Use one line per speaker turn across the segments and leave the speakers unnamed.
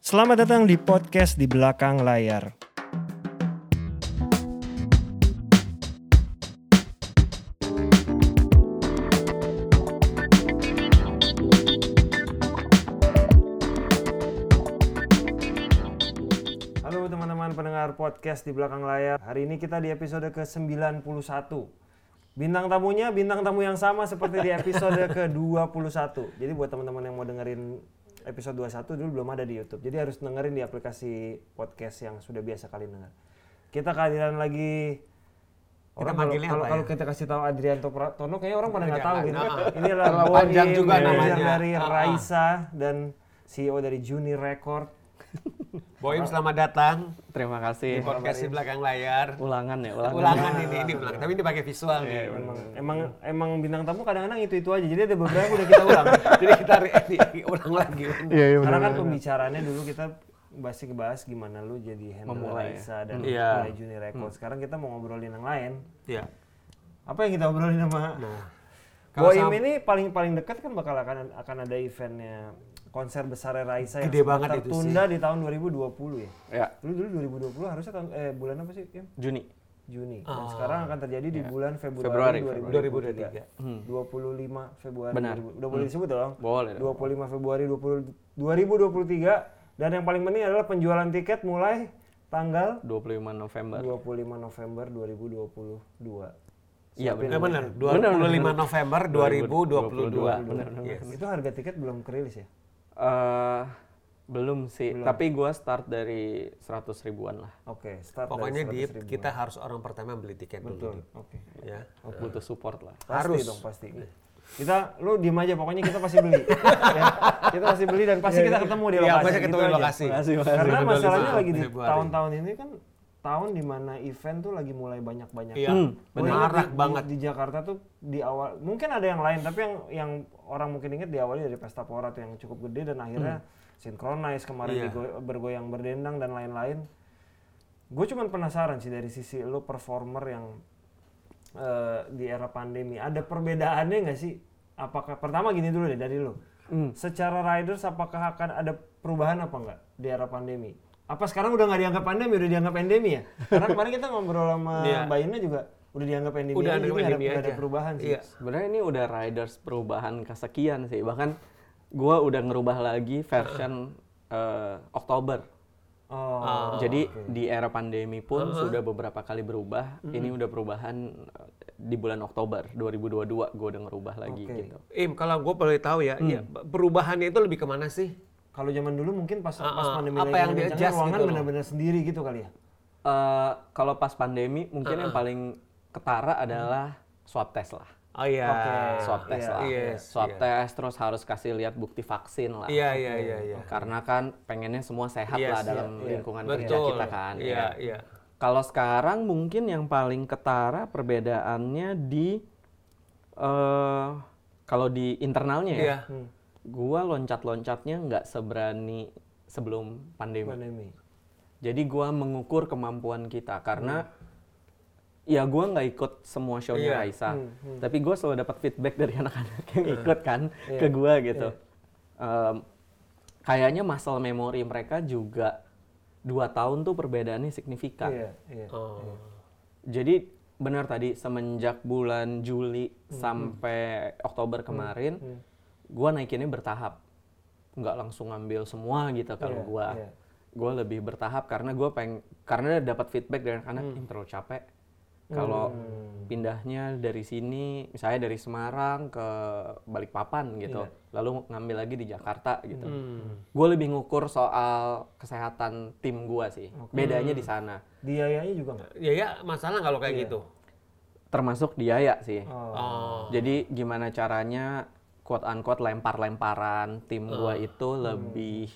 Selamat datang di podcast di belakang layar. Halo teman-teman pendengar podcast di belakang layar. Hari ini kita di episode ke-91. Bintang tamunya bintang tamu yang sama seperti di episode ke-21. Jadi buat teman-teman yang mau dengerin episode 21 dulu belum ada di YouTube. Jadi harus dengerin di aplikasi podcast yang sudah biasa kalian dengar. Kita kehadiran lagi Orang kalau,
manggilnya
kalau,
apa
kalau
ya?
kita kasih tahu Adrianto Pratono kayaknya orang pada nggak tahu
nggak
gitu.
tahu.
Ini adalah
Terlalu
Bowie,
panjang juga
manajer
namanya.
dari
Ah, ah.
Raisa dan CEO dari Juni Record.
Boim selamat datang
Terima
di
kasih.
podcast di belakang layar.
Ulangan ya, ulangan.
Ulangan Iya, ini ini ulang, tapi ini pakai visual nih.
Emang,
Iya.
emang emang bintang tamu kadang-kadang itu-itu aja. Jadi ada beberapa udah kita ulang.
Jadi kita re- di- ulang lagi.
Iya, iya
Karena kan pembicaraannya dulu kita masih ngebahas gimana lu jadi handle
Memulai.
Raisa dan
Hmm. Iya.
mulai Juni Record. Sekarang kita mau ngobrolin yang lain.
Iya.
Apa yang kita obrolin sama
Nah. Kalau
Boim
sama-
ini paling paling dekat kan bakal akan akan ada eventnya konser besar Raisa
Gede
yang
banget
sempat
itu sih.
tertunda di tahun 2020 ya.
Ya,
Lu dulu 2020 harusnya tahun eh bulan apa sih? Im?
Juni.
Juni. Dan sekarang akan terjadi di bulan
Ah. Ya. Februari,
Februari, 2023. 25 Februari.
Hmm. Benar. Hmm.
2020. Udah boleh disebut dong?
Boleh dong.
25 Februari 20, 2023 dan yang paling penting adalah penjualan tiket mulai tanggal
25 November.
25 November 2022.
Ya
Iya, benar.
benar, 25 November 2022.
Benar, benar.
Itu harga tiket belum kerilis ya?
Eh, belum sih, tapi gua start dari 100 ribuan lah.
Oke, start
Pokoknya
dari
di
100 ribu.
kita harus orang pertama beli tiket
Betul.
dulu. Dip.
Oke.
Ya.
Butuh support lah.
Pasti dong pasti. Iya. Kita lu diem aja pokoknya kita pasti beli. ya. Kita pasti beli dan pasti kita ketemu di
Iya,
lokasi. Gitu
pasti ketemu di
aja.
lokasi.
Makasih, makasih. Karena
Bener,
masalahnya
bener.
lagi di
Februari.
tahun-tahun ini kan tahun dimana event tuh lagi mulai banyak-banyak.
Iya.
Gua
benar.
ingat
Marak
di- di-
banget.
di Jakarta tuh di awal mungkin ada yang lain tapi yang yang orang mungkin ingat diawali dari pesta pora tuh yang cukup gede dan akhirnya sinkronize kemarin
Hmm. Iya.
digo- bergoyang berdendang dan lain-lain. Gue cuman penasaran sih dari sisi lo performer yang eh, di era pandemi ada perbedaannya nggak sih? Apakah pertama gini dulu deh dari lo.
Hmm.
Secara riders apakah akan ada perubahan apa nggak di era pandemi? Apa sekarang udah nggak dianggap pandemi, udah dianggap endemi ya? Karena kemarin kita ngobrol sama
Iya.
Mbak Ina juga udah dianggap endemi
Udah
aja,
ada
jadi nggak
pandemi
nggak
aja.
ada perubahan sih.
Iya.
Sebenarnya ini udah riders perubahan kesekian sih. Bahkan gua udah ngerubah lagi version eh, Oktober.
Oh,
Ah.
Jadi di era pandemi pun sudah beberapa kali berubah. Ini udah perubahan eh, di bulan Oktober 2022 gua udah ngerubah lagi
Oke.
gitu.
Im, kalau gue boleh tahu ya, ya, perubahannya itu lebih kemana sih?
kalau zaman dulu mungkin pas pas
Ah, ah.
pandemi
Apa
lagi
yang
kencangnya,
di-adjust
ruangan
gitu loh.
benar-benar sendiri gitu kali ya.
Eh, kalau pas pandemi mungkin yang paling ketara adalah swab test lah. Eh,
Oh iya.
Oke.
Swab test lah.
Yes,
swab
iya.
test terus harus kasih lihat bukti vaksin lah.
Iya, iya, iya, iya.
Karena kan pengennya semua sehat
Yes,
lah
iya,
dalam
iya.
lingkungan kerja
Betul.
kita kan.
Iya, iya.
Kalau sekarang mungkin yang paling ketara perbedaannya di eh kalau di internalnya ya.
Iya.
Gua loncat-loncatnya nggak seberani sebelum
Iya.
pandemi.
Pandemi.
Jadi gua mengukur kemampuan kita karena ya gua nggak ikut semua
Iya.
show-nya Raisa, tapi gua selalu dapat feedback dari anak-anak yang ikut kan ke gua gitu. Em, kayaknya muscle memory mereka juga dua tahun tuh perbedaannya signifikan.
Iya, iya.
Oh.
Jadi benar tadi semenjak
Hmm,
bulan Juli sampai Oktober kemarin, gua naikinnya bertahap, nggak langsung ngambil semua gitu kalau
Iya,
gua.
iya.
Gua lebih bertahap karena gua peng, karena dapat feedback dari anak-anak
Hmm.
"Ih, terlalu capek. Kalau pindahnya dari sini, misalnya dari Semarang ke Balikpapan gitu,
Iya.
lalu ngambil lagi di Jakarta gitu.
Hmm.
Gue lebih ngukur soal kesehatan tim gua sih. Bedanya di sana.
Biayanya juga nggak?
Ya ya, masalah kalau kayak gitu.
termasuk di Yaya sih.
Oh.
Jadi gimana caranya quote unquote lempar-lemparan tim gua itu lebih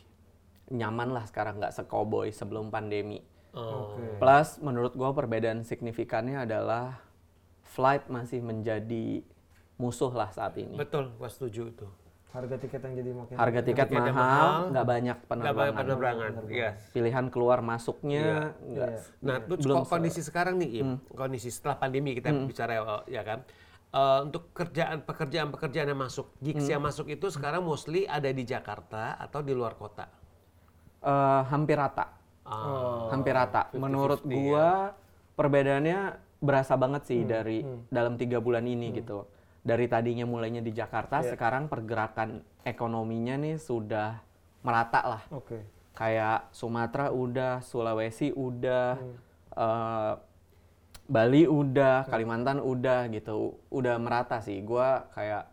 nyaman lah sekarang nggak sekoboy sebelum pandemi.
Oh.
Oke.
Plus menurut gua perbedaan signifikannya adalah flight masih menjadi musuh lah saat ini.
Betul, gua setuju itu.
Harga tiket yang jadi makin
Harga tiket
Tiketnya mahal,
mahal, nggak banyak
Nggak banyak
penerbangan.
penerbangan. Yes.
Pilihan keluar masuknya nggak
Iya.
Nah, terus kok kondisi sekarang nih, Im, kondisi setelah pandemi kita bicara eh, ya kan. Eh, untuk kerjaan pekerjaan-pekerjaan yang masuk, gigs yang masuk itu sekarang mostly ada di Jakarta atau di luar kota. Ah.
eh, hampir rata. hampir rata. Menurut gua perbedaannya berasa banget sih dari dalam tiga bulan ini gitu. Dari tadinya mulainya di Jakarta, sekarang pergerakan ekonominya nih sudah merata lah.
Oke.
Kayak Sumatera udah, Sulawesi udah, eh, Bali udah, Kalimantan udah gitu. Udah merata sih. Gua kayak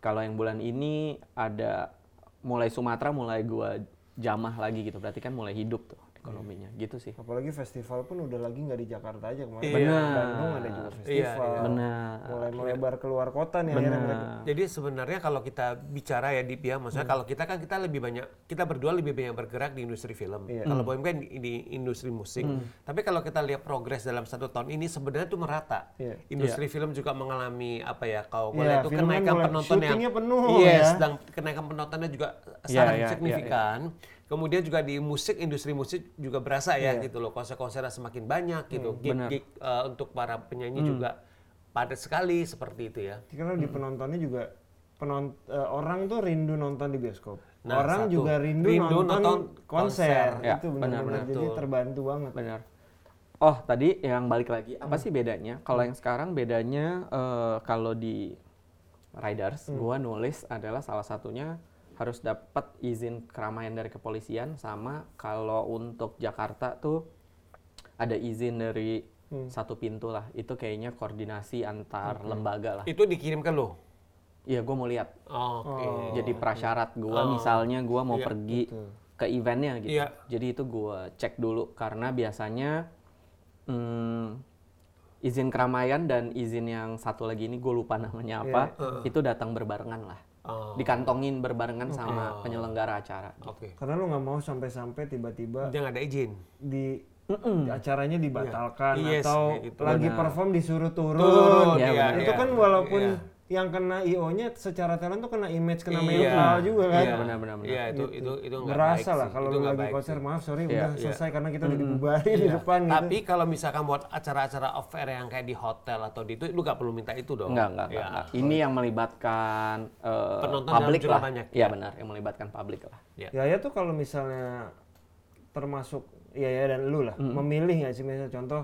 kalau yang bulan ini ada mulai Sumatera mulai gua jamah lagi gitu. Berarti kan mulai hidup tuh ekonominya. Gitu sih.
Apalagi festival pun udah lagi nggak di Jakarta aja kemarin.
Iya.
Di Bandung ada juga festival.
Benar.
Mulai melebar keluar kota nih akhirnya mereka.
Jadi sebenarnya kalau kita bicara ya di pihak maksudnya
Hmm.
kalau kita kan kita lebih banyak kita berdua lebih banyak bergerak di industri film.
Iya.
Kalau
Hmm.
Boeing kan di, di industri musik. Tapi kalau kita lihat progres dalam satu tahun ini sebenarnya itu merata.
Iya.
Industri film juga mengalami apa ya kalau
Iya,
yeah, itu
film kan
kenaikan
mulai-
penonton yang
syutingnya penuh
Yes,
ya.
dan kenaikan penontonnya juga sangat
Iya, iya, iya,
signifikan. Kemudian juga di musik industri musik juga berasa
Iya.
ya gitu loh konser-konser semakin banyak
Hmm,
gitu. Gig-gig eh, untuk para penyanyi juga padat sekali seperti itu ya.
Karena di penontonnya juga penon eh, orang tuh rindu nonton di bioskop.
Nah,
orang
satu.
juga rindu,
Rindu
nonton,
nonton
konser.
konser.
Ya,
Itu benar-benar
benar-benar.
jadi terbantu banget.
Benar. Oh, tadi yang balik lagi, apa sih bedanya? Kalau yang sekarang bedanya eh, kalau di Riders, gua nulis adalah salah satunya harus dapat izin keramaian dari kepolisian sama kalau untuk Jakarta tuh ada izin dari satu pintu lah. Itu kayaknya koordinasi antar lembaga lah.
Itu dikirim ke lo.
Iya, gua mau lihat.
Oke.
Oh.
Jadi prasyarat gua misalnya gua mau pergi ke eventnya gitu.
Iya.
Jadi itu gua cek dulu karena biasanya mm, izin keramaian dan izin yang satu lagi ini gue lupa namanya apa itu datang berbarengan lah.
Iya. Oh.
Dikantongin berbarengan sama penyelenggara acara.
Oke.
Karena lu nggak mau sampai-sampai tiba-tiba
Dia nggak ada izin.
di di acaranya dibatalkan
Yes,
atau
kayak gitu.
lagi perform disuruh turun.
Iya,
iya,
itu
iya.
kan walaupun
Iya.
yang kena IO-nya secara talent tuh kena image kena
Iya.
mental juga kan.
Iya, benar-benar. benar.
Iya, itu itu itu nggak
Berasa
baik
lah
sih.
kalau
Itu
lu
nggak
lagi
baik
konser
sih.
maaf sorry
Iya,
udah selesai karena kita udah dibubarin di depan gitu.
Iya. Tapi kalau misalkan buat acara-acara off air yang kayak di hotel atau di itu, lu nggak perlu minta itu dong.
Enggak, enggak,
Iya.
enggak, enggak. Ini yang melibatkan eh,
Penonton dalam
publik
jumlah
lah.
banyak. ya?
Iya benar, yang melibatkan publik lah.
Iya.
Yaya tuh kalau misalnya termasuk Yaya dan lu lah memilih nggak sih misalnya contoh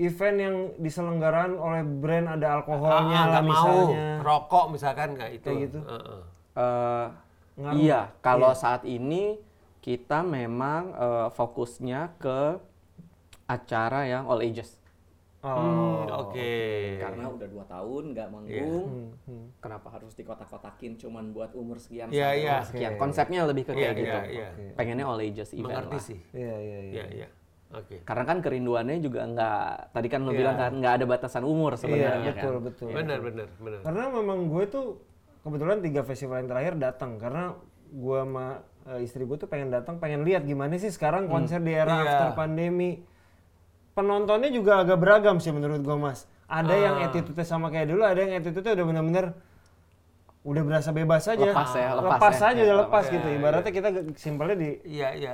event yang diselenggaran oleh brand ada
Ah,
alkoholnya lah
nggak mau
misalnya
rokok misalkan nggak itu.
Kayak gitu.
Heeh.
Eh, iya, kalau saat ini kita memang eh, fokusnya ke acara yang all ages.
Oh,
Hmm, Oke.
karena udah dua tahun nggak manggung
Hmm,
kenapa harus dikotak-kotakin cuman buat umur sekian
Iya,
sampai
iya.
Sekian konsepnya lebih ke
Iya,
kayak gitu.
iya, iya.
Pengennya all ages event
Mengerti
lah.
sih.
iya iya iya
Iya, iya. Oke.
Karena kan kerinduannya juga nggak, tadi
Iya.
kan lo bilang kan nggak ada batasan umur sebenarnya kan.
betul betul
Benar, benar, benar.
Karena memang gue tuh kebetulan tiga festival yang terakhir datang karena gue sama eh, istri gue tuh pengen datang, pengen lihat gimana sih sekarang
Hmm.
konser di era
Iya.
after pandemi. Penontonnya juga agak beragam sih menurut gue mas. Ada yang
Ah.
attitude sama kayak dulu, ada yang attitude udah bener-bener udah berasa bebas aja.
Lepas ya, lepas ya.
aja udah lepas gitu. Ibaratnya
iya.
kita ge- simpelnya di
Iya, iya.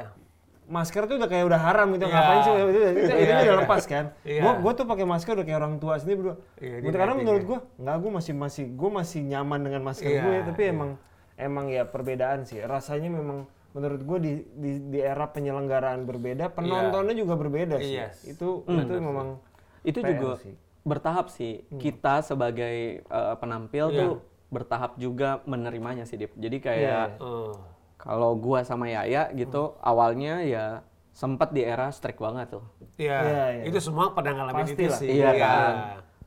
masker tuh udah kayak udah haram gitu ngapain sih itu itu, itu udah lepas kan
Iya.
gua gua tuh pakai masker udah kayak orang tua sendiri berdua Gitu, karena menurut gua nggak gua masih masih gua masih nyaman dengan masker gue tapi emang emang ya perbedaan sih rasanya memang menurut gua di di, di era penyelenggaraan berbeda penontonnya juga berbeda sih
Yes.
itu itu memang
Itu
PR
juga
sih.
bertahap sih.
Hmm.
Kita sebagai eh, penampil
Iya.
tuh bertahap juga menerimanya sih, Dip. Jadi kayak
Oh.
Kalau gua sama Yaya
Hmm.
gitu awalnya ya sempat di era strict banget tuh.
Iya,
Iya, iya.
itu semua pada ngalamin
Pasti
itu
lah.
sih.
Iya kan.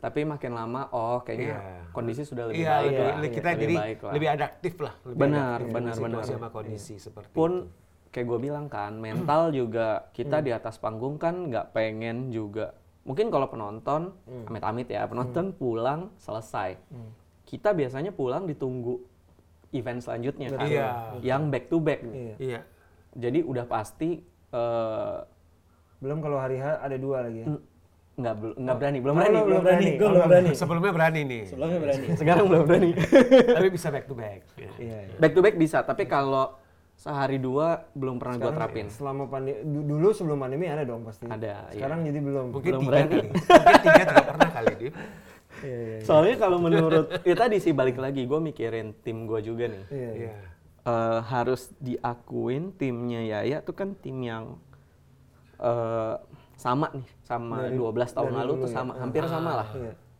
Tapi makin lama oh kayaknya
Iya.
kondisi sudah lebih
Iya,
baik
lebih,
lah.
kita
Lebih
jadi
baik lah.
lebih adaptif lah. Lebih
Benar,
adaptif dengan
benar,
situasi
benar.
sama kondisi seperti
Pun
itu.
kayak gue bilang kan
Hmm.
mental juga kita di atas panggung kan nggak pengen juga. Mungkin kalau penonton
Hmm.
amit-amit ya penonton pulang selesai. Kita biasanya pulang ditunggu event selanjutnya kan.
Iya.
Yang back to back.
Iya.
Jadi udah pasti eh,
belum kalau hari H ada dua lagi ya.
nggak bel- nggak berani
Oh,
belum berani
belum
belum berani
berani.
gua belum berani
Sebelumnya berani nih.
sebelumnya berani
sekarang belum berani
Tapi bisa back to back. Iya.
Iya. iya.
back to back bisa tapi kalau sehari dua belum pernah gua terapin
Selama pandemi dulu sebelum pandemi ada dong pasti.
Ada, iya.
Sekarang jadi belum.
Mungkin
Belum
tiga
berani.
kali. Mungkin tiga tidak pernah kali, Dip.
Iya, iya.
soalnya kalau menurut ya tadi sih balik lagi gue mikirin tim gue juga nih
Iya.
Iya.
eh, harus diakuin timnya Yaya tuh kan tim yang eh, sama nih sama 12 tahun lalu
ya.
tuh sama
Ah,
hampir sama lah.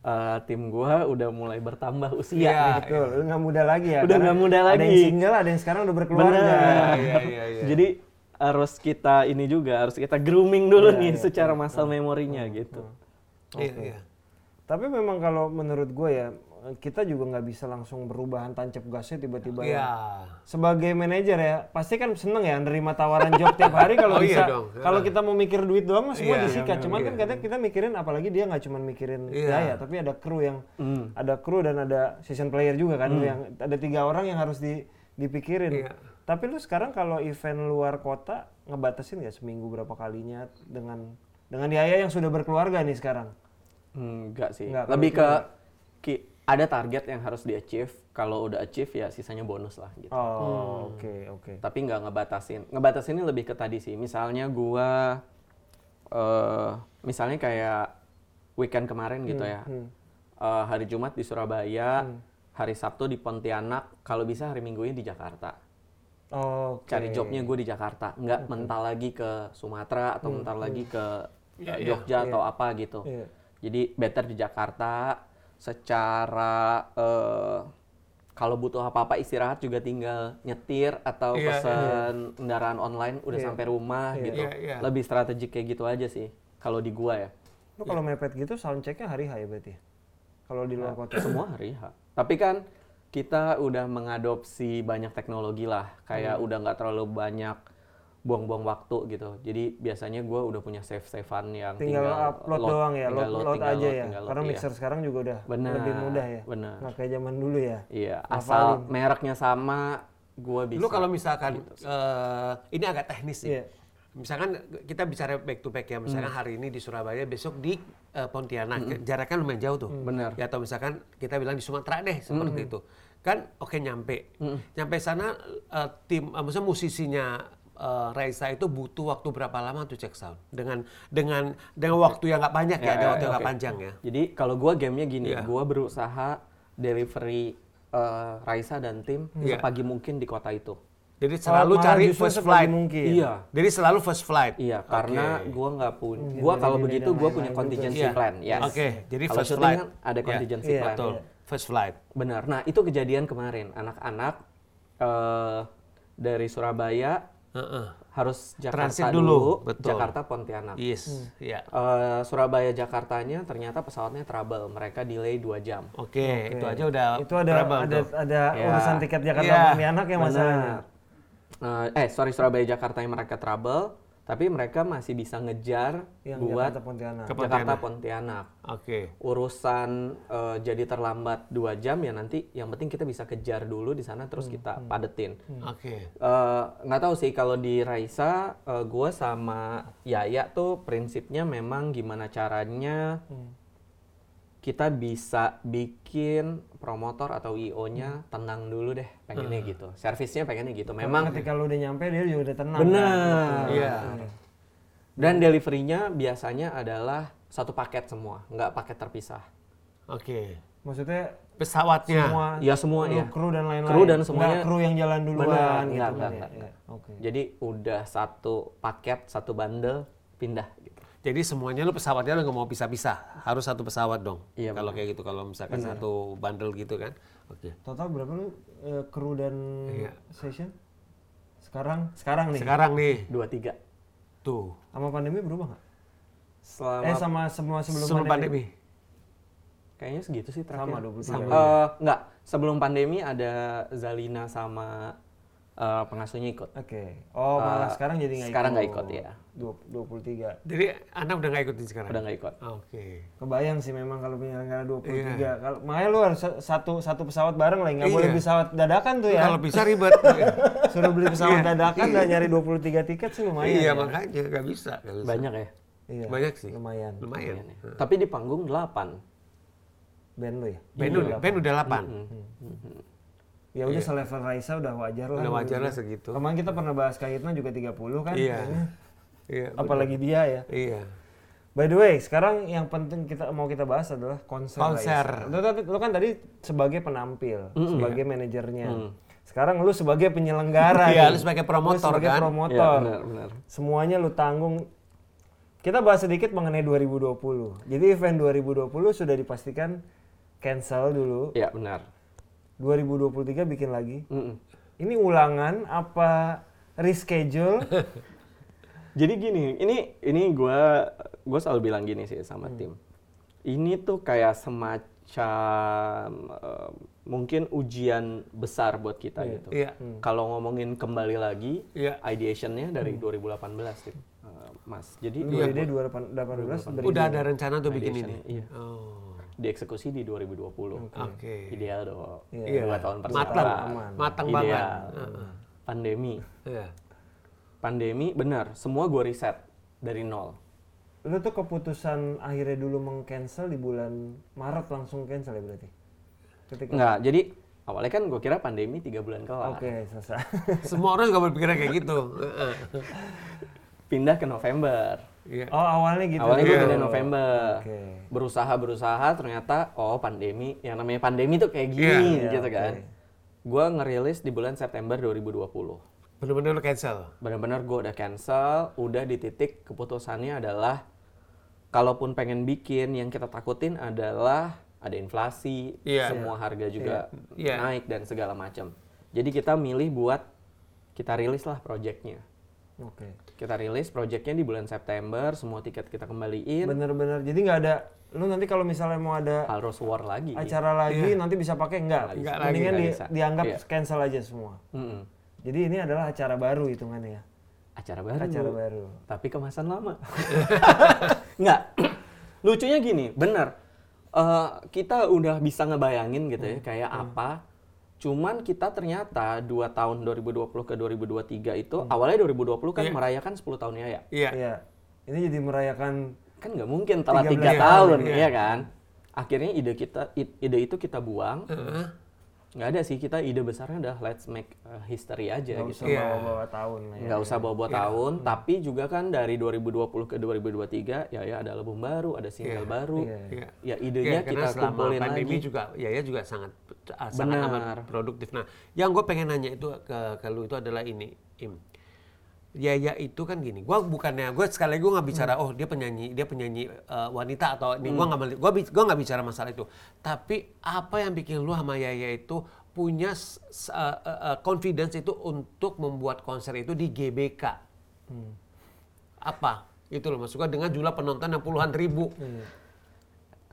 Eh, tim gua udah mulai bertambah usia
Iya.
nih.
Betul, lu nggak muda lagi ya.
Udah
karena
nggak muda
Ada
lagi.
yang single, ada yang sekarang udah berkeluarga.
Bener.
Iya, iya, iya.
Jadi harus kita ini juga harus kita grooming dulu nih secara masal memorinya gitu.
Iya, iya.
Tapi memang kalau menurut gue ya, kita juga nggak bisa langsung perubahan tancap gasnya tiba-tiba. ya.
Iya.
Sebagai manajer ya, pasti kan seneng ya nerima tawaran job tiap hari kalau
Oh
bisa.
iya dong.
Kalau kita mau mikir duit doang mah semua
Iya,
disikat. Cuman kan kadang kita mikirin apalagi dia nggak cuma mikirin
Iya.
gaya, tapi ada kru yang
Hmm.
ada kru dan ada season player juga kan yang ada tiga orang yang harus di- dipikirin.
Iya.
Tapi lu sekarang kalau event luar kota ngebatasin nggak seminggu berapa kalinya dengan dengan Yaya yang sudah berkeluarga nih sekarang?
Enggak sih.
Nggak,
Lebih ke ki- ada target yang harus di achieve. Kalau udah achieve ya sisanya bonus lah gitu.
Oh, oke, oke.
Tapi nggak ngebatasin. Ngebatasinnya lebih ke tadi sih. Misalnya gua eh misalnya kayak weekend kemarin gitu ya. Eh, hari Jumat di Surabaya, hari Sabtu di Pontianak, kalau bisa hari Minggunya di Jakarta.
Oke.
cari jobnya gue di Jakarta nggak mental lagi ke Sumatera atau mental lagi ke
Iya,
eh,
iya.
Jogja atau apa gitu
Iya.
jadi better di Jakarta secara eh, kalau butuh apa-apa istirahat juga tinggal nyetir atau
Iya,
pesen kendaraan online udah sampai rumah gitu
Iya, iya.
lebih strategik kayak gitu aja sih kalau di gua ya
Lu kalau mepet gitu sound check-nya hari H ya berarti? Kalau di luar
Nah,
kota.
semua hari H. Tapi kan kita udah mengadopsi banyak teknologi lah, kayak
Hmm.
udah nggak terlalu banyak buang-buang waktu gitu. Jadi biasanya gua udah punya save-savean yang
Tinggal,
tinggal,
upload doang ya,
tinggal
load, load aja
tinggal load,
ya.
tinggal load,
Karena
iya.
mixer sekarang juga udah
Benar,
lebih mudah ya.
benar.
Nggak kayak zaman dulu ya.
Iya,
Ngapalin.
asal mereknya sama, gua bisa.
Lu kalau misalkan eh, ini agak teknis sih.
Iya.
Misalkan kita bicara back to back ya,
Hmm.
misalkan hari ini di Surabaya, besok di eh, Pontianak. Jaraknya lumayan jauh tuh.
Benar. Hmm.
Ya atau misalkan kita bilang di Sumatera deh seperti itu. Kan oke nyampe. Nyampe sana eh, tim eh, maksudnya musisinya eh, Raisa itu butuh waktu berapa lama tuh check sound dengan dengan dengan waktu yang nggak banyak ya,
Ya,
ada
ya,
waktu yang
ya,
nggak
oke.
panjang ya.
Jadi kalau gua gamenya gini,
Iya.
gua berusaha delivery eh, Raisa dan tim
Iya.
sepagi mungkin di kota itu.
Jadi selalu
malah
cari
justru
first
sepagi
flight.
mungkin.
Iya.
Jadi selalu first flight.
Iya, karena
Oke.
gua nggak punya. Gua kalau begitu gua punya
Iya.
contingency plan, ya.
Oke, jadi
kalau
first
syuting
flight
kan ada
Iya,
contingency
iya,
plan.
Betul. First flight.
Benar. Nah, itu kejadian kemarin anak-anak eh, dari Surabaya
Heeh.
harus Jakarta
Transit dulu,
dulu,
betul.
Jakarta Pontianak.
Yes. Iya.
Hmm.
Eh, Surabaya Jakartanya ternyata pesawatnya trouble, mereka delay 2 jam.
Oke, itu aja
Iya,
udah
Itu ada
berapa
ada,
tuh?
ada
Ya.
urusan tiket Jakarta
Iya.
Pontianak ya masalahnya.
Benar. Eh, sorry Surabaya Jakarta yang mereka trouble, tapi mereka masih bisa ngejar
Yang Iya,
buat
Jakarta Pontianak.
Ke
Jakarta Pontianak.
Oke.
urusan eh, jadi terlambat dua jam ya nanti yang penting kita bisa kejar dulu di sana terus kita padetin
Hmm.
Oke.
Eh, nggak tahu sih kalau di Raisa eh, gua sama Yaya tuh prinsipnya memang gimana caranya kita bisa bikin promotor atau IO nya tenang dulu deh pengennya gitu servisnya pengennya gitu memang
Ketika lu udah nyampe dia juga udah tenang. kan?
benar
Iya.
dan deliverynya biasanya adalah satu paket semua nggak paket terpisah
Oke.
Maksudnya
Pesawatnya.
semua
ya semua
lu,
ya
kru dan lain-lain.
Kru dan
Nggak
semuanya.
kru yang jalan duluan
Benar,
gitu
nggak,
kan
nggak,
ya.
nggak,
Iya.
nggak.
Oke.
Jadi udah satu paket, satu bundle pindah gitu.
Jadi semuanya lu pesawatnya lu nggak mau pisah-pisah. Harus satu pesawat dong.
Iya,
Kalau kayak gitu kalau misalkan satu bundle gitu kan. Oke.
Total berapa lu eh, kru dan
Iya.
session? Sekarang sekarang nih.
Sekarang nih
Dua tiga.
tuh
Sama pandemi berubah nggak? Eh
Selama
sama semua sebelum,
sebelum
pandemi.
pandemi.
kayaknya segitu sih
Sama
terakhir.
23.
Eh, enggak, sebelum pandemi ada Zalina sama eh, pengasuhnya ikut.
Oke. Oh, malah
Eh,
sekarang jadi nggak ikut.
sekarang nggak ikut, ya.
Dua- 23.
Jadi anak udah nggak ikutin sekarang.
Udah nggak ikut.
Oke.
Kebayang sih memang kalau penyelenggara 23. Kalau makanya lu harus sa- satu satu pesawat bareng lah, nggak
Iya.
boleh pesawat dadakan tuh ya.
Kalau bisa ribet.
Suruh beli pesawat dadakan dan nyari 23 tiket sih lumayan.
iya
ya.
makanya nggak bisa. nggak bisa.
Banyak Iya, ya.
Iya,
Banyak sih.
Lumayan.
Lumayan.
Tapi di panggung 8.
Band lu ya.
Ben, udah, ben udah 8.
Ya udah selevel Raisa udah wajar lah.
Udah wajar lah segitu.
Kemarin kita pernah bahas Kahitna juga 30 kan.
Iya.
kayaknya.
Iya.
Apalagi dia ya.
Iya.
By the way, sekarang yang penting kita mau kita bahas adalah konser.
Konser.
Rais.
Iya.
Lu, tadi- lu kan tadi sebagai penampil, sebagai manajernya. Sekarang lu sebagai penyelenggara.
Iya,
nih.
lu sebagai promotor,
sebagai
kan?
promotor.
Iya, benar, benar.
Semuanya lu tanggung. Kita bahas sedikit mengenai 2020. Jadi event 2020 sudah dipastikan cancel dulu.
Iya, benar.
2023 bikin lagi.
Mm-mm.
Ini ulangan apa reschedule?
Jadi gini, ini ini gua gua selalu bilang gini sih sama
Hmm.
tim. Ini tuh kayak semacam eh, mungkin ujian besar buat kita gitu.
Iya.
Kalau ngomongin kembali lagi
Iya.
ideationnya dari
Hmm.
2018 tim. Eh, Mas. Jadi
Lu
Iya.
ide 2018 dari
Udah ada rencana tuh bikin ini.
ideationnya, iya.
Oh,
dieksekusi di 2020.
Iya. oke.
Ideal dong.
Iya.
Dua tahun
Matang,
persatuan.
matang banget.
Ideal. Pandemi.
Iya.
Pandemi benar, semua gua riset dari nol.
Lu tuh keputusan akhirnya dulu meng-cancel di bulan Maret langsung cancel ya berarti? Ketika
Enggak, jadi awalnya kan gue kira pandemi tiga bulan kelar.
Oke, selesai.
Semua orang juga berpikiran kayak gitu. Heeh.
Pindah ke November.
Iya.
Oh, awalnya gitu.
Awalnya gue
Iya.
pindah November.
Oke.
Berusaha-berusaha ternyata oh pandemi, yang namanya pandemi tuh kayak gini gitu kan. Gue ngerilis di bulan September 2020.
Bener-bener lu cancel.
Benar-benar gue udah cancel, udah di titik keputusannya adalah kalaupun pengen bikin yang kita takutin adalah ada inflasi,
Iya.
semua harga juga
Iya.
naik dan segala macam. Jadi kita milih buat kita rilis lah projectnya.
Oke.
kita rilis projectnya di bulan September semua tiket kita kembaliin
Bener-bener. Jadi nggak ada lu nanti kalau misalnya mau ada
harus war lagi
acara lagi nanti bisa pakai enggak?
Nggak lagi,
Mendingan
Iya. nggak
di-
bisa.
dianggap
Iya.
cancel aja semua.
Mm-mm.
Jadi ini adalah acara baru hitungannya ya.
acara baru
Acara baru.
tapi kemasan lama nggak lucunya gini bener Eh, kita udah bisa ngebayangin gitu ya kayak apa cuman kita ternyata dua tahun 2020 ke 2023 itu awalnya 2020 kan merayakan 10 tahun ya
Iya.
Iya. Ini jadi merayakan
kan nggak mungkin
13
telat tiga
tahun,
tahun ya kan akhirnya ide kita i- ide itu kita buang
Heeh.
nggak ada sih kita ide besarnya adalah let's make uh, history aja
nggak usah
gitu
Iya.
bawa-bawa tahun ya.
nggak usah bawa-bawa tahun
Iya.
tapi juga kan dari 2020 ke 2023 ya ya ada album baru ada single baru
Iya.
Iya.
ya idenya
Iya, karena
kita
selama
kumpulin
pandemi
lagi
juga ya ya juga sangat sangat amat produktif. Nah, yang gue pengen nanya itu ke, ke lu itu adalah ini, Im. Ya ya itu kan gini. Gua bukannya gue sekali lagi gue nggak bicara
Hmm.
oh dia penyanyi dia penyanyi eh, wanita atau ini gua nggak meli- gua bi- gua nggak bicara masalah itu. Tapi apa yang bikin lu sama Yaya itu punya s- s- eh, eh, eh, confidence itu untuk membuat konser itu di GBK?
Hmm.
Apa? Itu loh maksud gua dengan jumlah penonton yang puluhan ribu.
Hmm.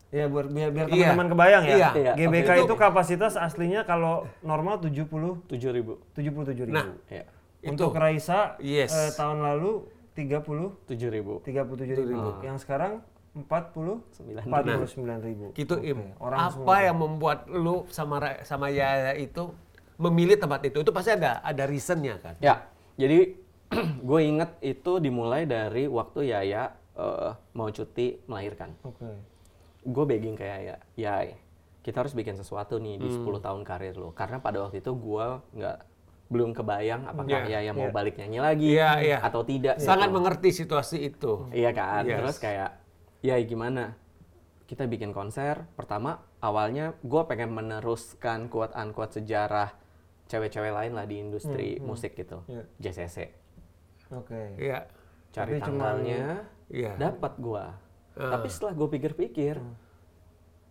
Iya, biar biar, biar
Iya.
teman-teman kebayang ya.
Iya.
Iya,
GBK
oke.
itu kapasitas aslinya kalau normal 70
tujuh ribu
77 ribu.
Nah,
ya
Untuk Raisa
Yes.
eh, tahun lalu 30
tujuh ribu
37 ribu. Yang sekarang 40 49 ribu.
Gitu Im.
Orang
apa yang membuat lu sama Ra- sama Yaya itu memilih tempat itu? Itu pasti ada ada reasonnya kan.
ya jadi gue inget itu dimulai dari waktu Yaya eh, mau cuti melahirkan
Oke.
gue begging kayak ya, Yai, kita harus bikin sesuatu nih
Hmm.
di 10 tahun karir lo. Karena pada waktu itu gue nggak belum kebayang apakah Yaya mau balik nyanyi lagi
Iya, iya.
atau tidak.
Sangat
gitu.
mengerti situasi itu.
Iya kan.
Yes.
Terus kayak, Yai gimana? Kita bikin konser. Pertama, awalnya gue pengen meneruskan quote unquote sejarah cewek-cewek lain lah di
Hmm,
industri musik gitu. JCC.
Oke.
Iya.
Cari
Tapi cuma-
tanggalnya,
Iya. Eh. Hmm.
dapat gua. Tapi setelah gue pikir-pikir,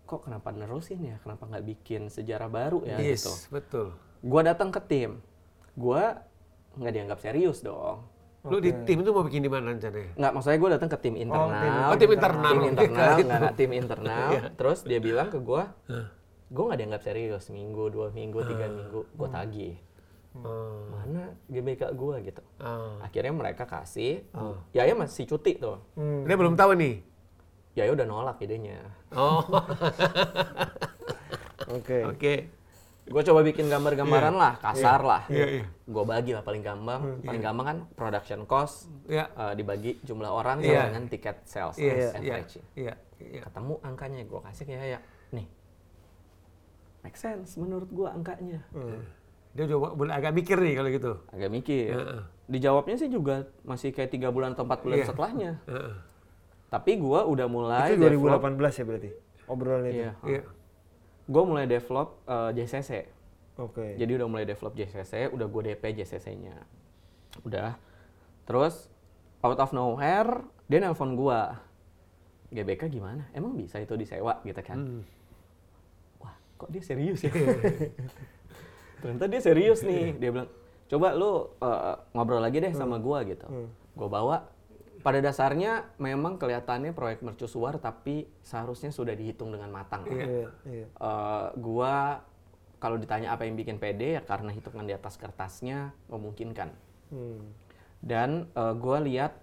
kok kenapa nerusin ya? Kenapa nggak bikin sejarah baru ya
Yes,
gitu?
betul.
Gua datang ke tim, gua nggak dianggap serius dong.
Lu di tim itu mau bikin di mana rencananya?
Nggak, maksudnya gue datang ke tim internal.
Oh, tim internal. Iya.
Tim internal,
Gitu.
nggak, nggak, tim internal. Terus dia bilang ke gua, gua nggak dianggap serius. Minggu, dua minggu,
Ah.
tiga minggu,
Hmm.
gua tagih. Hmm.
Oh.
Mana GBK gua gitu.
Oh.
Akhirnya mereka kasih,
Hmm.
ya ya masih cuti tuh.
Dia belum tahu nih.
Yaya udah nolak idenya.
Oh.
Oke.
Oke.
Gue coba bikin gambar-gambaran lah, kasar lah.
Iya, Hmm, iya.
Gue bagi lah paling gampang. Paling gampang kan production cost
Iya.
eh, dibagi jumlah orang sama
Iya.
dengan tiket sales
Yes,
average.
iya. Iya. Iya.
Ya, Ketemu angkanya gue kasih ke Yaya. Nih, make sense menurut gue angkanya.
Hmm.
Dia udah mulai agak mikir nih kalau gitu.
Agak mikir. Dijawabnya sih juga masih kayak tiga bulan atau empat bulan setelahnya.
Heeh.
Tapi gue udah mulai
Iya. Itu
develop.
2018 ya berarti. Obrolan itu.
Iya.
Iya.
Gue mulai develop eh, JCC.
Oke.
Jadi udah mulai develop JCC, udah gue DP JCC-nya. Udah. Terus out of nowhere dia nelpon gua. GBK gimana? Emang bisa itu disewa gitu kan?
Hmm.
Wah, kok dia serius ya? Ternyata dia serius nih. Dia bilang, "Coba lu eh, ngobrol lagi deh
Hmm.
sama gua gitu." Gua bawa pada dasarnya memang kelihatannya proyek mercusuar tapi seharusnya sudah dihitung dengan matang.
Iya, iya.
Eh, gua kalau ditanya apa yang bikin pede ya karena hitungan di atas kertasnya memungkinkan.
Hmm.
Dan eh, gua lihat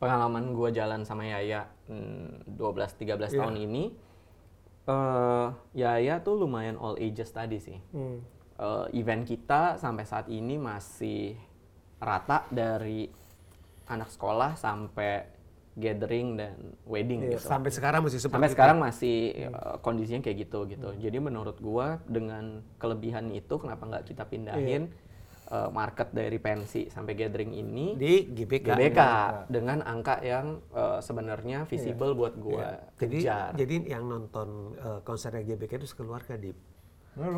pengalaman gua jalan sama Yaya hmm, 12 13 tahun ini eh Yaya tuh lumayan all ages tadi sih.
Hmm.
Eh, event kita sampai saat ini masih rata dari anak sekolah sampai gathering dan wedding gitu
Sampai sekarang masih seperti
sampai
itu.
sekarang masih uh, kondisinya kayak gitu gitu jadi menurut gua dengan kelebihan itu kenapa nggak kita pindahin uh, market dari pensi sampai gathering ini di
Iya. di GBK. Iya.
GBK dengan angka yang uh, sebenarnya visible buat gua
Jadi
Ya, kejar
jadi yang nonton eh, konsernya GBK itu sekeluarga di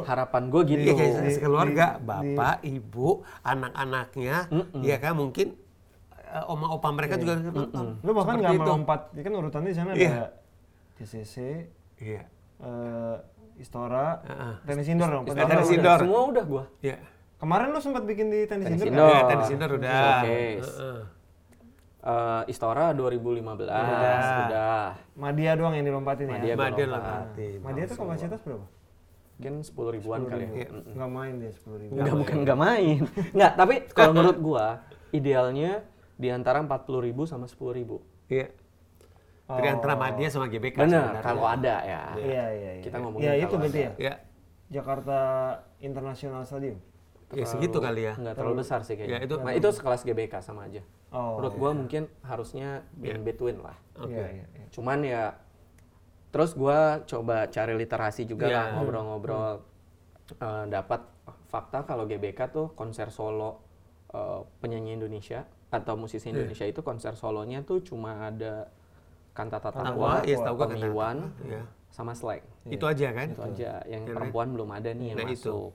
harapan gua gitu
Iya kayak sekeluarga,
Iya,
bapak, ibu, anak-anaknya, ya kan mungkin eh, oma-opa
Iya.
mereka juga nonton.
Lu bahkan
Seperti
nggak
itu.
melompat, ya kan urutannya di sana
Iya.
ada CCC,
Iya.
eh Istora,
Heeh.
tenis indoor dong.
Istora,
pertama.
tenis
Udah,
indoor.
semua udah gua
Iya.
Kemarin lu sempat bikin di tenis,
Tenis
indoor.
indoor.
Iya, tenis indoor udah.
Oh, Oke.
Heeh.
Uh, Istora 2015 udah
Madia doang yang dilompatin ya.
Madia gua
Madia
lompat.
lompatin.
Madia tuh kapasitas berapa?
mungkin 10 ribuan kali ya
Nggak main dia sepuluh ribu.
Enggak, bukan enggak main. Enggak, tapi kalau menurut gua idealnya di antara 40.000 sama 10.000.
Iya. Jadi antara Madia sama GBK
Bener,
sebenarnya.
Oh. kalau ada ya.
Kan Iya iya iya.
Kita ngomongin
ya
kalau
itu berarti ya.
Iya.
Jakarta International Stadium.
Ya segitu kali ya.
Enggak terlalu besar sih kayaknya.
Ya, itu-
nah, itu sekelas GBK sama aja.
Iya. Oh.
menurut gua mungkin harusnya in between lah.
Iya iya. iya.
Cuman ya terus gua coba cari literasi juga
Hmm.
Iya.
lah ngobrol-ngobrol Eh, dapat fakta kalau GBK tuh konser solo eh, penyanyi Indonesia atau musisi
Iya.
Indonesia itu konser solonya tuh cuma ada Kantata
Tangwa,
Takwa,
ya setahu gua Kantata
Pemiwan,
Takwa, iya.
sama Slang.
Itu aja kan?
Itu aja yang perempuan belum ada nih yang
Nah, itu.
masuk.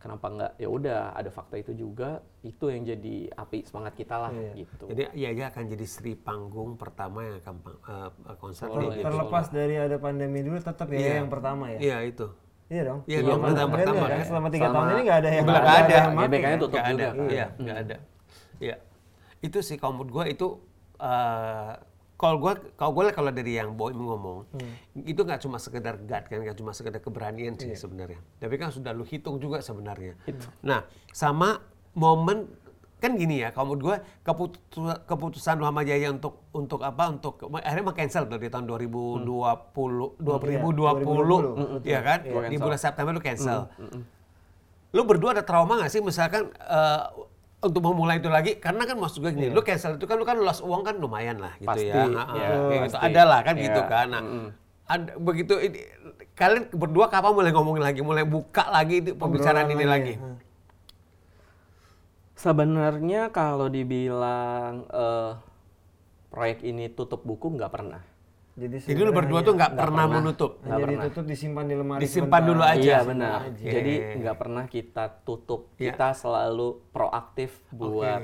Kenapa nggak? Ya udah ada fakta itu juga, itu yang jadi api semangat kita lah gitu.
Iya, Jadi Yaya akan jadi Sri Panggung pertama yang akan pang- eh, konser
Solo
di
ya.
Terlepas dari ada pandemi dulu tetap ya
Iya.
yang pertama ya.
Iya itu.
Iya dong.
Iya, dong,
Iya,
pertama-
kan? Iya,
pertama
kan?
kan?
Selama tiga
Selama-
tahun ini nggak ada yang
Nggak
nggak
ada,
yang mati,
GBK-nya
kan?
tutup
Nggak
juga.
ada.
kan?
Iya, nggak ada. Iya. Itu sih kalau menurut gue itu eh, kalau gue kalau gue kalau dari yang boy ngomong
Hmm.
itu nggak cuma sekedar gut kan nggak cuma sekedar keberanian
Iya.
sih sebenarnya tapi kan sudah lu hitung juga sebenarnya nah sama momen kan gini ya kalau menurut gue keputusan keputusan Muhammad Jaya untuk untuk apa untuk akhirnya mah cancel tuh di tahun
Hmm.
2020
Iya,
2020 ya kan di bulan September lu cancel lu berdua ada trauma nggak sih misalkan eh, untuk memulai itu lagi karena kan maksud gue gini lu cancel itu kan lu kan lost uang kan lumayan lah gitu
Iya. Pasti,
ya, Ha-ha,
ya,
kayak gitu
pasti.
ada lah kan gitu
Ya,
kan nah, ada- begitu ini- kalian berdua kapan mulai ngomongin lagi mulai buka lagi itu pembicaraan ini lagi
Sebenarnya kalau dibilang eh, proyek ini tutup buku nggak pernah.
Jadi,
jadi lu berdua tuh nggak pernah menutup
Nggak
jadi
pernah.
tutup disimpan di lemari.
disimpan dulu aja
Iya benar.
Oke.
Jadi nggak pernah kita tutup.
Iya.
Kita selalu proaktif buat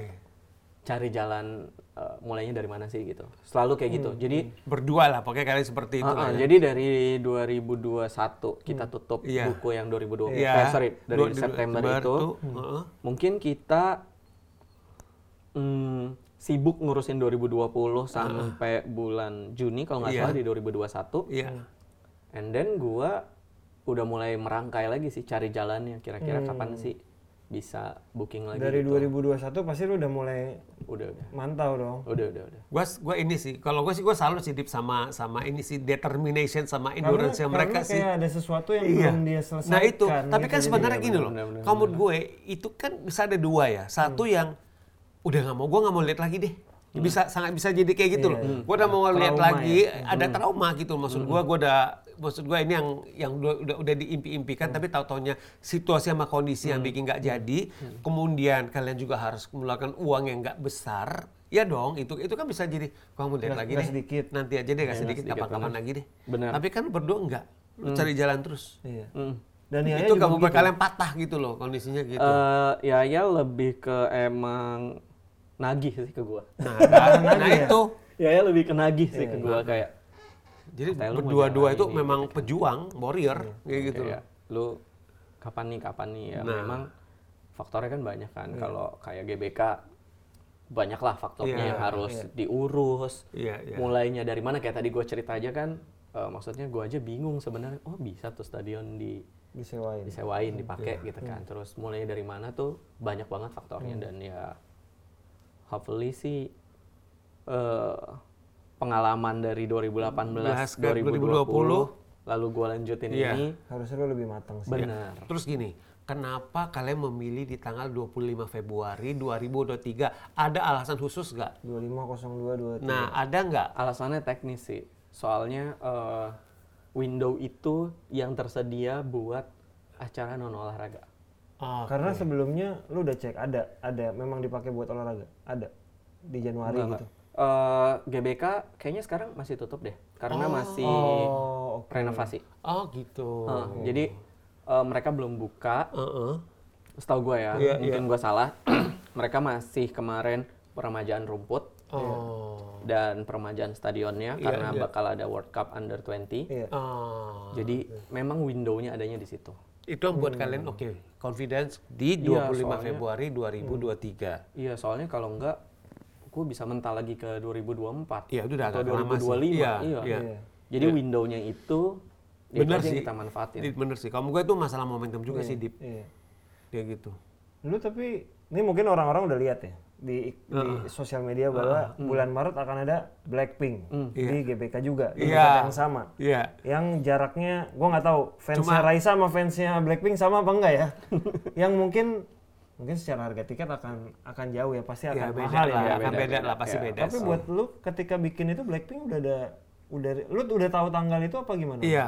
cari jalan eh, mulainya dari mana sih gitu. Selalu kayak
Hmm,
gitu. Jadi
berdua lah pokoknya kalian seperti itu
ah, ah,
lah ya.
jadi dari 2021 kita tutup
Iya.
buku yang 2020.
Iya.
Eh, sorry, dari
Dua- dua-
September
September
itu Hmm.
tuh, heeh.
mungkin kita mm, sibuk ngurusin 2020 sampai bulan Juni kalau nggak
Iya.
salah di 2021.
iya
And then gua udah mulai merangkai lagi sih cari jalannya kira-kira
Hmm.
kapan sih bisa booking lagi
Dari
gitu.
2021 pasti lu udah mulai
udah udah
mantau dong.
udah udah
Iya.
udah.
Gua, gua ini sih, kalau gua sih gua salut sih Dip sama sama ini sih determination sama endurance yang mereka
karena
sih. Iya.
kayak ada sesuatu yang belum dia selesaikan.
Nah itu, tapi
gitu.
kan
Jadi
sebenarnya gini loh.
benar, benar,
Kalau menurut gue itu kan bisa ada dua ya. Satu yang udah nggak mau, gue nggak mau lihat lagi deh. Bisa sangat bisa jadi kayak gitu loh. Gue udah mau lihat lagi, ada trauma gitu. Maksud gue, gue udah maksud gue ini yang yang udah udah, udah diimpi-impikan, tapi tahu taunya situasi sama kondisi yang bikin nggak jadi. Kemudian kalian juga harus mengeluarkan uang yang nggak besar. Ya dong, itu itu kan bisa jadi gua mau lihat
Nggak-
lagi
nggak
deh.
sedikit.
Nanti aja deh, nggak
nggak
sedikit
sedikit,
kapan-kapan lagi deh.
Benar.
Tapi kan berdua enggak. Lu cari jalan terus.
Iya.
Mm.
Dan Yaya
itu
juga
gabungan
begitu.
kalian patah gitu loh kondisinya gitu.
Eh, Yaya lebih ke emang nagih sih ke gua.
nah, nah, nah
Iya.
itu.
Yaya Ya, lebih ke nagih sih ke gua kayak
Jadi
Kayak lu mau
berdua-dua itu
jalan ini, gitu kan. Iya,
memang pejuang, warrior kayak gitu.
kayak lu kapan nih kapan nih ya
Nah. Iya.
memang faktornya kan banyak kan kalau kayak GBK banyaklah faktornya
Iya,
yang harus diurus
Iya, iya.
mulainya dari mana kayak tadi gue cerita aja kan eh, maksudnya gue aja bingung sebenarnya oh bisa tuh stadion di
disewain.
disewain dipakai gitu kan terus mulainya dari mana tuh banyak banget faktornya dan ya hopefully sih eh, pengalaman dari 2018
ke 2020,
2020, lalu gue lanjutin
Iya.
ini
Harusnya lu lebih matang sih.
benar
Terus gini, kenapa kalian memilih di tanggal 25 Februari 2023? Ada alasan khusus nggak?
2502
Iya.
Nah, ada nggak?
Alasannya teknis sih. Soalnya eh, window itu yang tersedia buat acara non olahraga.
Oh,
Kan-
Karena sebelumnya lu udah cek ada ada memang dipakai buat olahraga. Ada di Januari gitu.
Eh, GBK kayaknya sekarang masih tutup deh karena masih
Oh, oke.
renovasi.
oh gitu.
Eh, Jadi eh, mereka belum buka.
Heeh.
Setahu gue ya,
Iya,
mungkin gue salah. mereka masih kemarin peremajaan rumput
Oh.
dan peremajaan
Iya,
stadionnya karena bakal ada World Cup Under 20.
Iya.
Oh.
Jadi memang windownya adanya di situ.
Itu yang buat kalian oke, confidence di 25
Hmm. Iya,
Februari 2023.
Iya, soalnya kalau enggak gue bisa mentah lagi ke 2024.
Iya, itu udah
atau
agak lama sih.
2025.
Iya,
iya.
iya.
Jadi window-nya itu ya
Bener
itu aja yang
sih.
kita manfaatin.
Di- Bener sih. Kamu gue itu masalah momentum juga sih Dip.
Iya.
Dia gitu.
Lu tapi ini mungkin orang-orang udah lihat ya di di sosial media bahwa
hmm.
bulan Maret akan ada Blackpink di GBK juga di
Iya.
tempat yang sama.
Iya.
yang jaraknya gua nggak tahu fansnya Raisa sama fansnya Blackpink sama apa enggak ya yang mungkin mungkin secara harga tiket akan akan jauh ya pasti akan
Ya, beda
mahal ya
lah,
nggak?
akan beda, lah, pasti beda.
tapi buat lu ketika bikin itu Blackpink udah ada udah lu udah tahu tanggal itu apa gimana
Iya.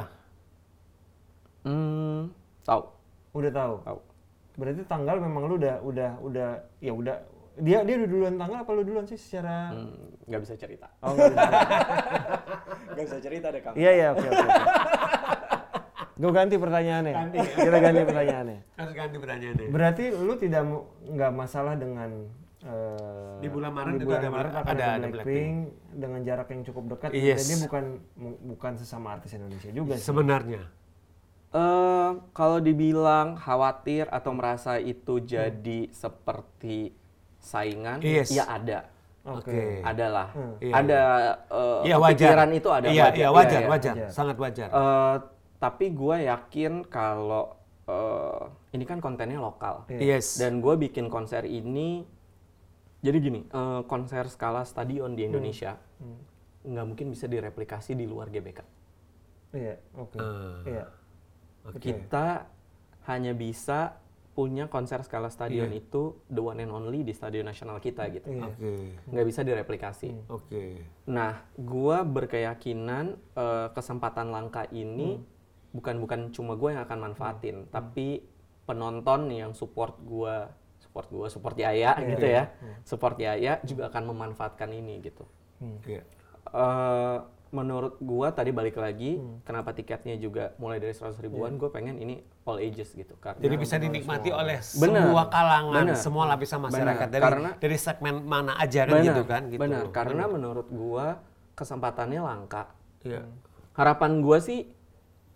Hmm, tahu.
udah tahu
Tahu.
berarti tanggal memang lu udah udah udah ya udah dia dia udah duluan tanggal apa lu duluan sih secara
Hmm, nggak bisa cerita.
oh nggak bisa.
Gak bisa cerita deh kamu.
iya iya oke oke gue ganti pertanyaannya kita ganti pertanyaannya
Harus ganti pertanyaannya.
Berarti lu tidak mu- nggak masalah dengan eh,
Di bulan Maret
di
itu
bulan
ada-
Maret akan
ada-
ada,
ada
Blackpink, dengan jarak yang cukup dekat.
Yes.
Jadi bukan mu- bukan sesama artis Indonesia juga sih.
Sebenarnya.
Eh, kalau dibilang khawatir atau merasa
Hmm.
itu jadi seperti saingan,
Yes.
ya ada.
Oke.
Adalah.
Iya,
Ada eh,
Iya wajar.
pikiran itu ada
Iya, iya wajar,
Iya, iya.
wajar, sangat wajar.
Eh, tapi gue yakin kalau eh, ini kan kontennya lokal.
Yes.
Dan gue bikin konser ini, jadi gini, eh, konser skala stadion di
Hmm.
Indonesia nggak mungkin bisa direplikasi di luar GBK.
Iya, oke.
Eh.
Iya.
Kita hanya bisa punya konser skala stadion itu the one and only di Stadion Nasional kita gitu.
Iya.
Oke.
Nggak bisa direplikasi.
Oke.
Nah, gua berkeyakinan eh, kesempatan langka ini bukan bukan cuma gua yang akan manfaatin, tapi penonton yang support gua, support gua, support Yaya gitu ya, support Yaya juga akan memanfaatkan ini gitu.
Iya.
Eh, menurut gua tadi balik lagi,
Hmm.
kenapa tiketnya juga mulai dari 100 ribuan, gua pengen ini all ages gitu karena
Iya. Jadi bisa dinikmati oleh
Benar.
semua kalangan,
Benar.
semua lapisan masyarakat
Benar.
dari
Karena-
dari segmen mana aja kan gitu kan gitu.
benar. karena menurut gua kesempatannya langka.
Iya.
Harapan gua sih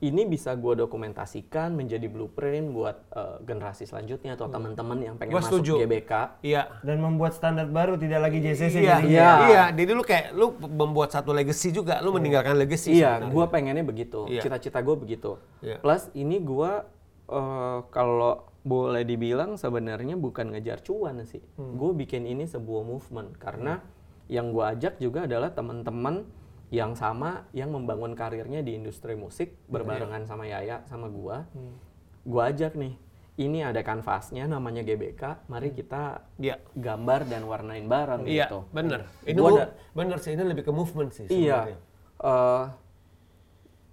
ini bisa gua dokumentasikan menjadi blueprint buat eh, generasi selanjutnya
Hmm.
atau teman-teman yang pengen
Gua
masuk
setuju.
GBK.
Iya.
Dan membuat standar baru tidak lagi JCC
Iya,
jadi
iya. Iya, jadi lu kayak lu membuat satu legacy juga, lu meninggalkan legacy.
Iya,
sebenarnya.
gua pengennya begitu.
Iya.
Cita-cita gua begitu.
Iya.
Plus ini gua eh, kalau boleh dibilang sebenarnya bukan ngejar cuan sih.
Hmm.
Gua bikin ini sebuah movement karena yang gua ajak juga adalah teman-teman yang sama yang membangun karirnya di industri musik
Iya.
berbarengan sama Yaya sama gua.
Hmm.
Gua ajak nih. Ini ada kanvasnya namanya GBK. Mari kita
Iya.
gambar dan warnain bareng
Iya,
gitu.
benar. Ini
Gua
mu-
ada-
bener sih, ini lebih ke movement sih
Iya. Eh,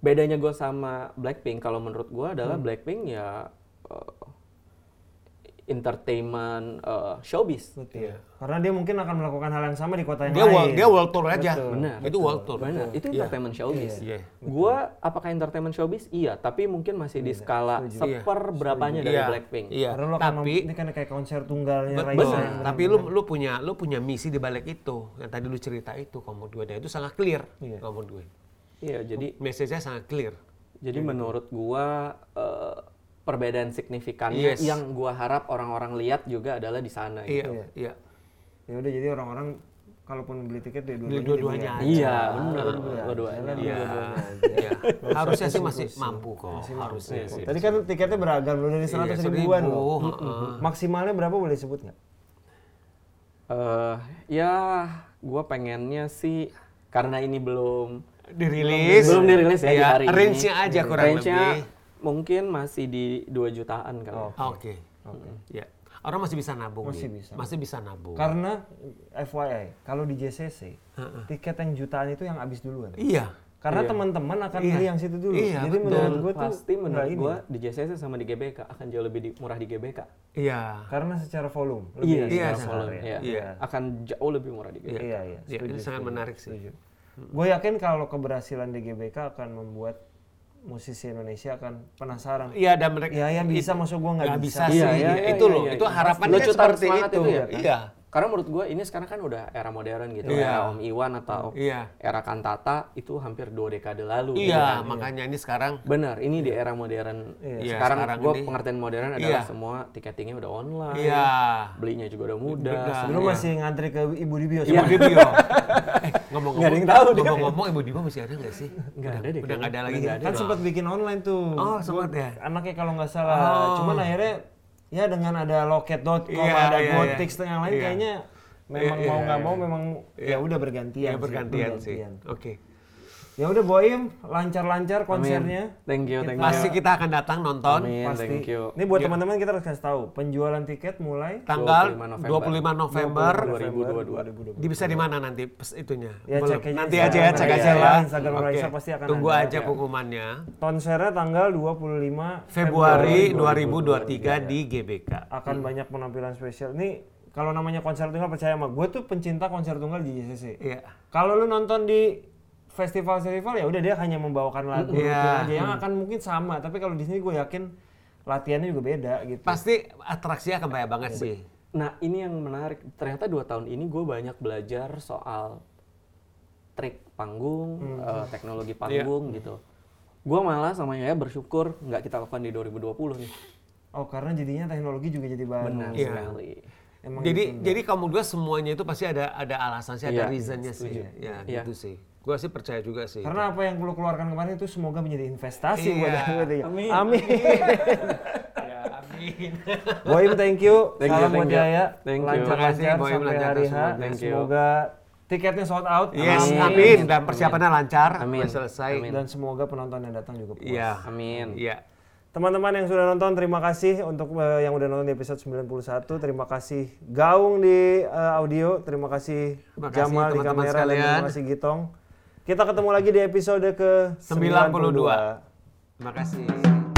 bedanya gue
Hmm.
sama Blackpink kalau menurut gue adalah Blackpink ya eh, entertainment eh, showbiz.
Betul. Karena dia mungkin akan melakukan hal yang sama di kota yang
Iya. Dia
lain.
world, dia world tour aja.
Benar.
Itu world tour.
Benar, itu entertainment showbiz.
Iya.
Gua apakah entertainment showbiz? Iya, tapi mungkin masih di skala seperberapanya dari
Iya.
Blackpink.
Iya.
Karena lu akan
Tapi
mem- ini kan kayak konser tunggalnya
Betul.
Raisa.
Tapi lu lu punya lu punya misi di balik itu. Yang tadi lu cerita itu kalau menurut gue dan itu sangat clear kalau menurut gue.
Iya, jadi
Message-nya sangat clear.
jadi
Iya.
menurut gua eh, perbedaan signifikannya
Yes.
yang gua harap orang-orang lihat juga adalah di sana. gitu.
Iya, iya.
Ya udah jadi orang-orang kalaupun beli tiket ya
Beli
dua-duanya
dua-duanya
dibeli.
aja.
Iya, benar. Dua-duanya.
Iya. Iya. Harusnya sih masih mampu kok. Harusnya sih.
Tadi kan tiketnya beragam, lu dari 100
Iya,
ribuan
seribu,
loh. Maksimalnya berapa boleh sebut nggak?
Eh, ya, gua pengennya sih karena ini belum
Dirilis.
belum dirilis ya di
Iya,
hari ini.
Range-nya aja kurang
Range-nya
lebih. Oh.
mungkin masih di 2 jutaan kali.
Oke. Ya. Orang masih bisa nabung.
Masih
Din.
bisa.
Masih bisa nabung.
Karena FYI, kalau di JCC, tiket yang jutaan itu yang habis duluan.
Iya.
Karena teman-teman akan beli yang situ dulu.
Iya,
Jadi menurut gue tuh
Pasti
nggak
menurut
ini.
ya.
gua di JCC sama di GBK akan jauh lebih di- murah di GBK.
Iya.
Karena secara volume
Iya,
lebih
iya,
secara
secara
volume,
ya.
iya.
Iya.
Akan jauh lebih murah di GBK.
Iya, iya.
Iya, ini sangat menarik sih. Hmm.
Gue yakin kalau keberhasilan DGBK akan membuat musisi Indonesia akan penasaran.
Iya, dan mereka
Ya, ya bisa, maksud gue nggak
nggak
bisa.
bisa, sih.
Iya, iya, iya,
itu
iya,
loh,
iya,
itu
iya.
harapan
Lo
kan
cutar
seperti
semangat
itu.
itu ya, kan?
Iya.
Karena menurut gua ini sekarang kan udah era modern gitu,
Iya.
era Om Iwan atau
Iya.
era Kantata itu hampir dua dekade lalu. gitu
Iya,
kan.
makanya ini sekarang
Benar, ini di era modern.
Iya,
Sekarang,
sekarang
gua
ini-
pengertian modern adalah
Iya.
semua tiketingnya udah online.
iya.
Belinya juga udah mudah.
Benar.
Dulu
Iya.
masih ngantri ke Ibu Dibio.
Ibu
sama-
Dibio. Eh, ngomong-ngomong,
Nggak ada yang tahu dia.
ngomong-ngomong Ibu Dibio masih ada nggak sih?
Nggak ada deh,
Udah nggak ada
kayaknya.
lagi. Iya,
Nggak ada.
Kan sempat bikin online tuh.
Oh, sempat ya. Oh.
Anaknya kalau nggak salah. Cuman akhirnya ya dengan ada loket.com,
Iya,
ada
iya,
Gotik
iya.
setengah lain
Iya.
kayaknya memang
Iya,
mau
iya,
nggak
iya.
mau memang ya udah bergantian.
Iya,
sih,
bergantian sih.
bergantian.
Oke.
Ya udah Boim, lancar-lancar
Amin.
konsernya.
Thank you, thank you.
Pasti kita akan datang nonton
Amin,
Pasti.
thank you.
Ini buat teman-teman kita harus kasih tahu penjualan tiket mulai
tanggal 25
25
November,
November 2022.
Di bisa di mana nanti pes- itunya?
Ya,
Belum.
cek aja
nanti
Instagram
aja ya, cek
Raisa.
aja lah.
Instagram
Oke.
Raisa pasti akan
Tunggu
ada. ya.
aja pengumumannya.
Konsernya tanggal 25
Februari 2023 di GBK.
akan banyak penampilan spesial. Ini kalau namanya konser tunggal percaya sama gue tuh pencinta konser tunggal di JCC.
Iya.
Kalau lu nonton di festival-festival ya udah dia hanya membawakan lagu gitu
Iya.
aja yang akan mungkin sama, tapi kalau di sini gue yakin latihannya juga beda gitu.
Pasti atraksinya akan banyak banget
Iya,
sih.
Nah, ini yang menarik. Ternyata dua tahun ini gue banyak belajar soal trik panggung, eh, teknologi
Iya.
panggung gitu. Gue malah sama ya bersyukur nggak kita lakukan di 2020 nih.
Oh, karena jadinya teknologi juga jadi bahan.
Benar
Iya.
sekali.
Emang gitu,
jadi jadi kamu gue semuanya itu pasti ada ada alasannya, ada
Iya.
reasonnya sih. Ya,
Iya.
gitu sih. Gue sih percaya juga sih.
Karena apa yang lu keluarkan kemarin itu semoga menjadi investasi
Iya.
buat aku gitu ya.
Amin.
Amin.
Ya, amin.
Boim thank you.
Thank you,
Salam buat
thank you.
Yaya.
Thank you.
Makasih,
Lancar-lancar
Boim,
sampai
lancar
hari
terus
H.
semuanya.
Thank you.
Semoga tiketnya sold out.
Yes, amin. Dan persiapannya lancar,
Amin.
sampai selesai.
Amin.
Dan semoga penonton yang datang juga puas.
Iya.
Amin.
Iya.
Teman-teman yang sudah nonton, terima kasih untuk eh, yang udah nonton di episode 91. Terima kasih Gaung di eh, audio, terima kasih,
Terima kasih
Jamal di kamera,
teman-teman
dan
sekalian.
terima kasih Gitong. Kita ketemu lagi di episode ke
92. Terima kasih.